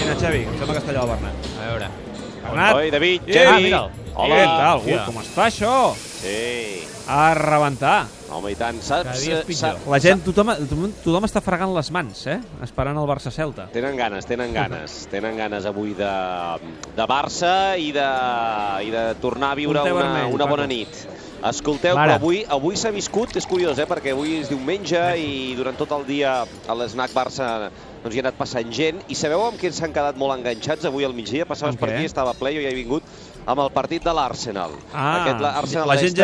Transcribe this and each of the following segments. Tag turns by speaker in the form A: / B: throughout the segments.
A: Mira, Xavi, em sembla que està allà el Bernat.
B: A veure.
A: Bernat.
C: Oi, David,
A: Ei,
B: Ah,
C: Xavi.
B: mira'l.
C: Hola.
A: Què tal? Ui,
B: Hòstia.
A: com està això?
C: Sí.
A: A rebentar.
C: Home, i tant.
B: Cada
C: Saps, eh,
B: dia és pitjor.
C: saps-
A: La gent, tothom, tothom, tothom està fregant les mans, eh? Esperant el Barça-Celta.
C: Tenen ganes, tenen ganes. Tenen ganes avui de, de Barça i de, i de tornar a viure
A: Punteu
C: una,
A: vermell,
C: una bona
A: Paco.
C: nit. Escolteu,
B: Mare.
C: però avui, avui s'ha viscut, és curiós, eh? perquè avui és diumenge i durant tot el dia a l'esnac Barça doncs hi ha anat passant gent i sabeu amb què s'han quedat molt enganxats avui al migdia? Passaves
A: Amb
C: per
A: què?
C: aquí, estava ple, jo ja he vingut, amb el partit de l'Arsenal. Aquest la-
A: Ah. la gent ja,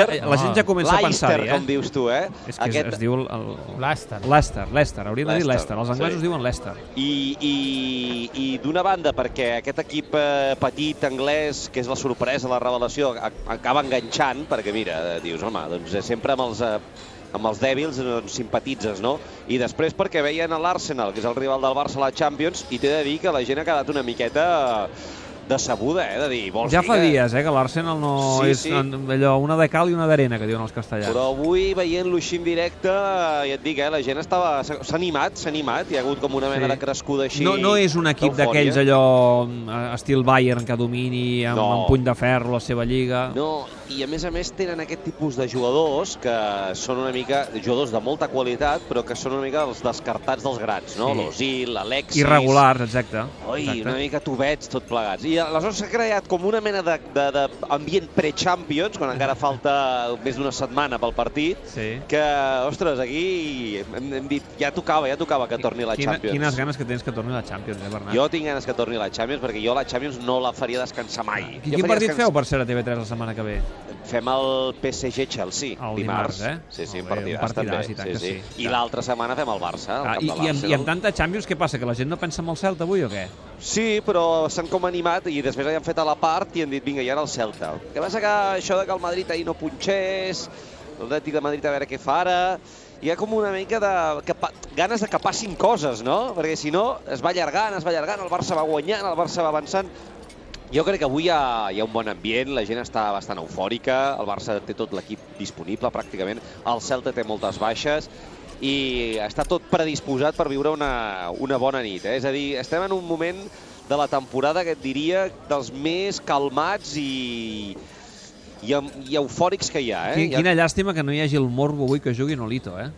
C: Arsenal-Leicester.
A: la gent ja comença a pensar-hi,
C: Leicester,
A: eh?
C: com dius tu, eh?
A: És que Aquest... es, es diu el, el...
B: Leicester.
A: Leicester, Leicester. Hauríem de dir Leicester.
C: Leicester,
A: Els anglesos
C: sí.
A: diuen Leicester.
C: I, i, i d'una banda, perquè aquest equip eh, petit anglès, que és la sorpresa, la revelació, a- acaba enganxant, perquè mira, eh, dius, home, doncs eh, sempre amb els, eh, amb els dèbils doncs, simpatitzes, no? I després perquè veien a l'Arsenal, que és el rival del Barça a la Champions, i t'he de dir que la gent ha quedat una miqueta eh, decebuda, eh? De dir, vols
A: Ja
C: dir
A: fa
C: que...
A: dies, eh, que l'Arsenal no
C: Sí,
A: és
C: sí.
A: en- allò, una de cal i una d'arena, que diuen els castellans.
C: Però avui, veient-lo així en directe, eh, ja et dic, eh, la gent estava... s'ha s'ha animat, s'ha animat, hi ha hagut com una mena
A: Sí.
C: de crescuda així...
A: No, no és un equip
C: d'eufòria.
A: d'aquells allò eh, estil Bayern que domini amb,
C: No.
A: amb puny de ferro la seva lliga.
C: No, i a més a més tenen aquest tipus de jugadors que són una mica jugadors de molta qualitat, però que són una mica els descartats dels grans, no?
A: Sí.
C: L'Osil, l'Alexis...
A: Irregulars, exacte.
C: Oi,
A: exacte.
C: una mica tubets, tot plegats. I aleshores s'ha creat com una mena d'ambient pre-champions, quan encara falta més d'una setmana pel partit,
A: Sí.
C: que, ostres, aquí hem, hem dit, ja tocava, ja tocava que torni la
A: Quina,
C: Champions.
A: Quines ganes que tens que torni la Champions, eh, Bernat?
C: Jo tinc ganes que torni la Champions, perquè jo la Champions no la faria descansar mai.
A: I
C: Jo
A: quin
C: faria
A: partit
C: descans-
A: feu per ser a TV3 la setmana que ve?
C: Fem el PSG Chelsea
A: El
C: dimarts.
A: dimarts, eh?
C: Sí, sí, un
A: Molt bé, un
C: partidàs, també.
A: partidàs, i tant
C: sí,
A: que
C: sí.
A: sí.
C: I l'altra setmana fem el Barça. al
A: Ah,
C: camp
A: i, i,
C: de
A: amb, I amb
C: l'Arsenal.
A: tanta Champions, què passa? Que la gent no pensa en el Celta avui o què?
C: Sí, però s'han com animat i després ja han fet a la part i han dit, vinga, i ara el Celta. El Que passa que això de que el Madrid ahir no punxés, l'Atlètic de Madrid a veure què fa ara... Hi ha com una mica de que, pa- ganes de que passin coses, no? Perquè si no, es va allargant, es va allargant, el Barça va guanyant, el Barça va avançant. Jo crec que avui hi ha, hi ha un bon ambient, la gent està bastant eufòrica, el Barça té tot l'equip disponible pràcticament, el Celta té moltes baixes i està tot predisposat per viure una, una bona nit. Eh? És a dir, estem en un moment de la temporada que et diria dels més calmats i, i, em- i eufòrics que hi ha. Eh?
A: Qui-
C: Hi ha...
A: Quina llàstima que no hi hagi el morbo avui que jugui Nolito, eh?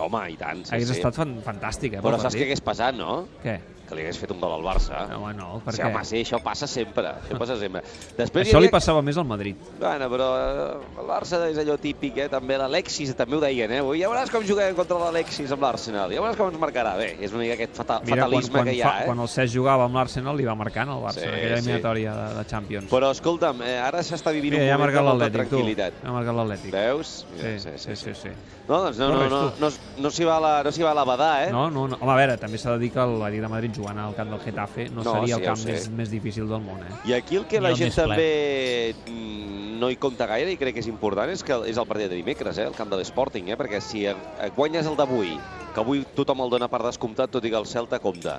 C: Home, i tant, sí,
A: Hagués
C: sí.
A: estat fan fantàstic, eh?
C: Però
A: pel
C: saps què
A: partit.
C: hagués passat, no?
A: Què?
C: Que li hagués fet un gol al Barça.
A: No, Ah, home, no, per
C: sí,
A: què?
C: home, sí, això passa sempre. Això passa sempre. Després hi
A: Això li
C: havia-
A: passava més al Madrid.
C: Bueno, però eh, el Barça és allò típic, eh? també l'Alexis, també ho deien, eh? Avui Ja veuràs com juguem contra l'Alexis amb l'Arsenal, ja veuràs com ens marcarà. Bé, és una mica aquest fata
A: Mira, quan,
C: fatalisme
A: quan,
C: que hi ha,
A: fa,
C: eh?
A: quan el Cesc jugava amb l'Arsenal li va marcant el Barça
C: Sí,
A: en aquella
C: sí.
A: eliminatòria de, de Champions.
C: Però escolta'm, eh, ara s'està vivint
A: Mira, ja ha
C: un moment
A: marcat
C: de molta
A: l'Atlètic, tu.
C: tranquil·litat.
A: Ja ha marcat l'Atlètic.
C: Veus?
A: Sí, sí, sí. sí, sí.
C: No, doncs no,
A: No,
C: no,
A: res,
C: no,
A: tu.
C: no, no s'hi va, la, no s'hi va a l'abadar, eh?
A: No, no, no. Home, a veure, també s'ha de dir que l'Atlètic de Madrid jugant al camp del Getafe no,
C: No, sí,
A: seria el
C: ja ho
A: camp
C: sé.
A: més, més difícil del món, eh?
C: I aquí el que
B: Ni
C: la
B: el
C: gent
B: més ple.
C: també mm, no hi compta gaire i crec que és important és que és el partit de dimecres, eh, el camp de l'Sporting, eh, perquè si eh, guanyes el d'avui, que avui tothom el dona per descomptat, tot i que el Celta compta,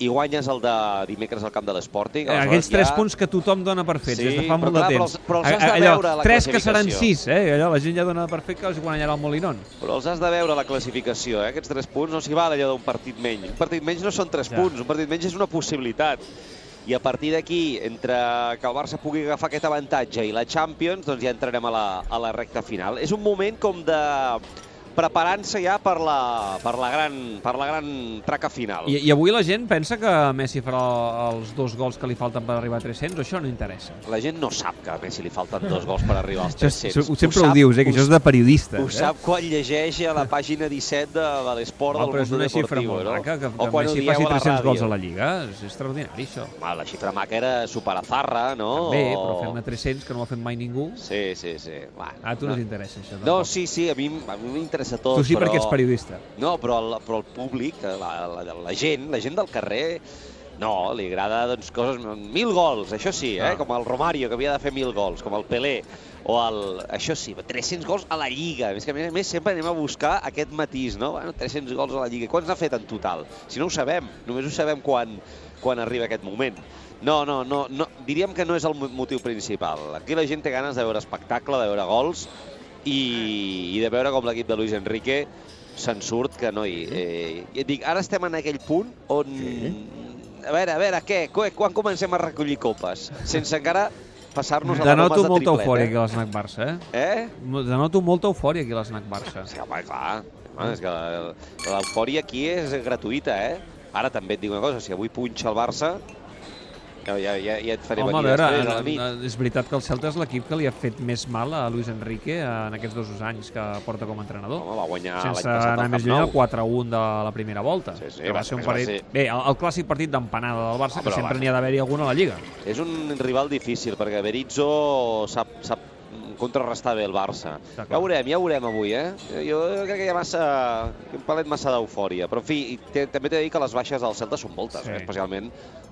C: i guanyes el de dimecres al camp de l'Sporting...
A: Eh,
C: aleshores
A: Aquells
C: ja-
A: tres punts que tothom dona per fets
C: Sí,
A: des de fa
C: però
A: molt
C: clar,
A: de
C: però
A: temps.
C: els- però els has de
A: A- allò,
C: veure a la
A: tres que seran
C: classificació.
A: sis, eh? Allò, la gent ja dona per fet que els guanyarà el Molinón.
C: Però els has de veure a la classificació, eh? aquests tres punts no s'hi val allò d'un partit menys. Un partit menys no són tres
A: Ja.
C: ja. punts, un partit menys és una possibilitat. I a partir d'aquí, entre que el Barça pugui agafar aquest avantatge i la Champions, doncs ja entrarem a la, a la recta final. És un moment com de preparant-se ja per la, per la, gran, per la gran traca final.
A: I, I avui la gent pensa que Messi farà els dos gols que li falten per arribar a 300, o això no interessa.
C: La gent no sap que a Messi li falten dos gols per arribar als 300.
A: sempre ho, dius, eh, que això és de eh? periodista.
C: Ho sap quan llegeix a la pàgina 17 de, de l'esport
A: Però,
C: del
A: però és
C: Mundo
A: una xifra
C: Deportivo,
A: molt
C: no?
A: maca, que,
C: O
A: que
C: quan ho
A: Messi
C: dieu
A: faci
C: a la
A: 300 gols
C: ràdio.
A: a la Lliga. És extraordinari, això.
C: Home, la xifra maca era superazarra, no?
A: Bé,
C: O-
A: però fer-ne 300, que no ho ha fet mai ningú,
C: Sí, sí, sí. Va,
A: a tu no t'interessa això.
C: No,
A: tampoc.
C: sí, sí, a mi m- a mi m'interessa tot,
A: tu sí
C: però...
A: perquè ets periodista.
C: No, però el, però el públic, la, la, la gent, la gent del carrer, no, li agrada doncs, coses... Mil gols, això sí,
A: Ah.
C: eh? com el Romario, que havia de fer mil gols, com el Pelé, o el... Això sí, 300 gols a la Lliga. És que, a més a més, sempre anem a buscar aquest matís, no? Bueno, 300 gols a la Lliga. Quants n'ha fet en total? Si no ho sabem, només ho sabem quan, quan arriba aquest moment. No, no, no, no, diríem que no és el mo- motiu principal. Aquí la gent té ganes de veure espectacle, de veure gols, i, i de veure com l'equip de Luis Enrique se'n surt que no hi... Eh, ja et dic, ara estem en aquell punt on sí. a veure, a veure, què? Què? Quan comencem a recollir copes? Sense encara passar-nos a
A: De
C: l'aromes de
A: noto
C: triplet,
A: molta eufòria
C: eh?
A: aquí a l'Snac Barça, eh?
C: Eh?
A: De noto molta eufòria aquí a l'Snac Barça.
C: Sí, home, clar. Home, és que la- l'eufòria aquí és gratuïta, eh? Ara també et dic una cosa, si avui punxa el Barça, ja, ja, ja, ja et faré
A: Home, a
C: venir
A: veure,
C: després a la
A: en-
C: nit.
A: en- és veritat que el Celta és l'equip que li ha fet més mal a Luis Enrique en aquests dos anys que porta com a entrenador.
C: Home, va guanyar Ah, l'any
A: sense
C: passat
A: anar
C: al
A: més lluny
C: Camp Nou.
A: el 4-1 de la primera volta.
C: Sí, sí,
A: que
C: va
A: va ser un
C: ser- va
A: partit...
C: ser-
A: Bé, el, el clàssic partit d'empanada del Barça,
C: Ah,
A: que
C: però
A: sempre
C: va.
A: n'hi ha d'haver-hi algun a la Lliga.
C: És un rival difícil, perquè Berizzo sap, sap contrarrestar bé el Barça.
A: Està clar.
C: Ja ho veurem, ja ho veurem avui, eh? Jo crec que hi ha massa... un palet massa d'eufòria. Però, en fi, i té, també t'he de dir que les baixes del Celta són moltes,
A: Sí.
C: sí. especialment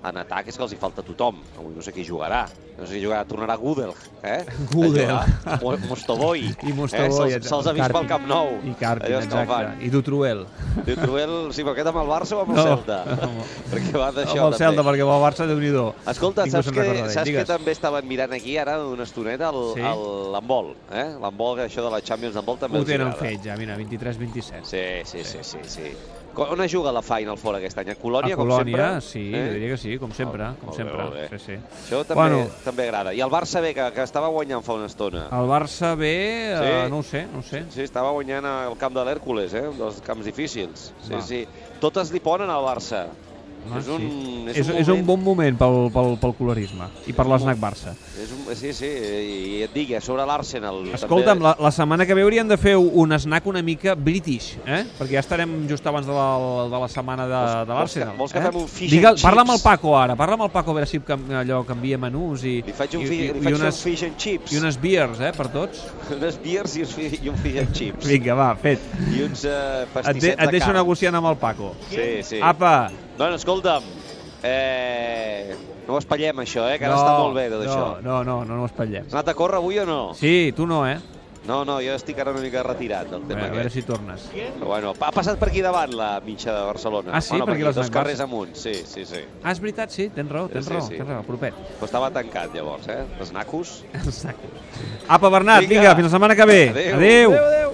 C: en atac és que els hi falta tothom. Avui no sé qui jugarà. No sé qui jugarà, tornarà Gudel, eh?
A: Gudel.
C: A jugar. Mo- Mostoboy.
A: I Mostoboy,
C: Eh?
A: etc.
C: Se'ls se ha vist
A: Carpi.
C: pel Camp Nou.
A: I Carpi,
C: Allò és que el
A: exacte.
C: fan.
A: I Dutruel.
C: Diu Truel, sí, però aquest amb el Barça o amb el
A: No,
C: Celta?
A: amb-
C: Perquè va d'això,
A: Amb el Celta, perquè va al Barça, déu nhi
C: Escolta,
A: Ningú
C: saps,
A: se'n
C: que,
A: recorda d'ell,
C: saps que
A: digues.
C: també estaven mirant aquí ara una estoneta el-
A: Sí?
C: el- l'handbol, sí? eh? L'handbol, que això de la Champions d'handbol també
A: Ho
C: els
A: tenen
C: agrada.
A: fet ja, mira, 23-27.
C: Sí, sí, sí, sí, sí. Co- On es juga la Final Four aquest any? A Colònia,
A: a Colònia,
C: com sempre? Eh?
A: sí, jo diria que sí, com sempre,
C: Molt-
A: com
C: molt bé,
A: sempre.
C: molt bé.
A: Sí, sí.
C: Això també,
A: Bueno. Ah.
C: també agrada. I el Barça bé, que, que estava guanyant fa una estona.
A: El Barça bé, eh,
C: Sí.
A: no ho sé, no ho sé.
C: Sí, estava guanyant al camp de l'Hèrcules, eh? Un dels camps difícils. Sí,
A: Va.
C: sí. Totes li ponen al Barça.
A: Ah,
C: és, un,
A: sí.
C: és,
A: és,
C: un
A: és un
C: moment-
A: bon moment pel, pel, pel colorisme i per l'Snac Barça.
C: És un, sí, sí, i et digui, a sobre l'Arsenal.
A: Escolta'm, la, la setmana que ve hauríem de fer un snack una mica british, eh? Perquè ja estarem just abans de la, de la setmana de,
C: Vols-
A: de
C: vols que-
A: l'Arsenal.
C: vols que
A: eh?
C: fem un fish
A: Digue'l-
C: and chips?
A: Parla amb el Paco ara, parla amb el Paco a veure si cam- allò canvia menús i,
C: Li faig un,
A: i,
C: fi,
A: i,
C: li
A: i,
C: faig
A: unes,
C: un fish and chips.
A: i unes beers, eh, per tots.
C: unes beers i, un fi- i un fish and chips.
A: Vinga, va, fet.
C: I uns uh,
A: Et,
C: pastissets
A: de, et
C: de
A: deixo Ah,
C: carn.
A: negociant amb el Paco.
C: Sí, sí.
A: Apa!
C: Bueno, escolta'm, eh, no ho espatllem, això, eh, que ara
A: no,
C: està molt bé, tot
A: no,
C: això.
A: No, no, no, no ho espatllem.
C: Has anat a córrer avui o no?
A: Sí, tu no, eh?
C: No, no, jo estic ara una mica retirat del
A: A veure,
C: tema
A: a veure
C: aquest.
A: si tornes.
C: Però bueno, ha passat per aquí davant la mitja de Barcelona.
A: Ah, sí?
C: Bueno,
A: Per
C: per
A: aquí
C: aquí
A: les
C: dos
A: Mac
C: carrers
A: Barça.
C: amunt, sí, sí, sí.
A: Ah, és veritat, sí, tens raó, tens
C: Sí,
A: raó,
C: sí.
A: tens raó, propet.
C: Però estava tancat llavors, eh? Els nacos.
A: Exacte. Apa, Bernat, vinga,
C: Vinga.
A: fins la setmana que ve.
C: Adéu.
A: Adéu.
C: Adéu, adéu.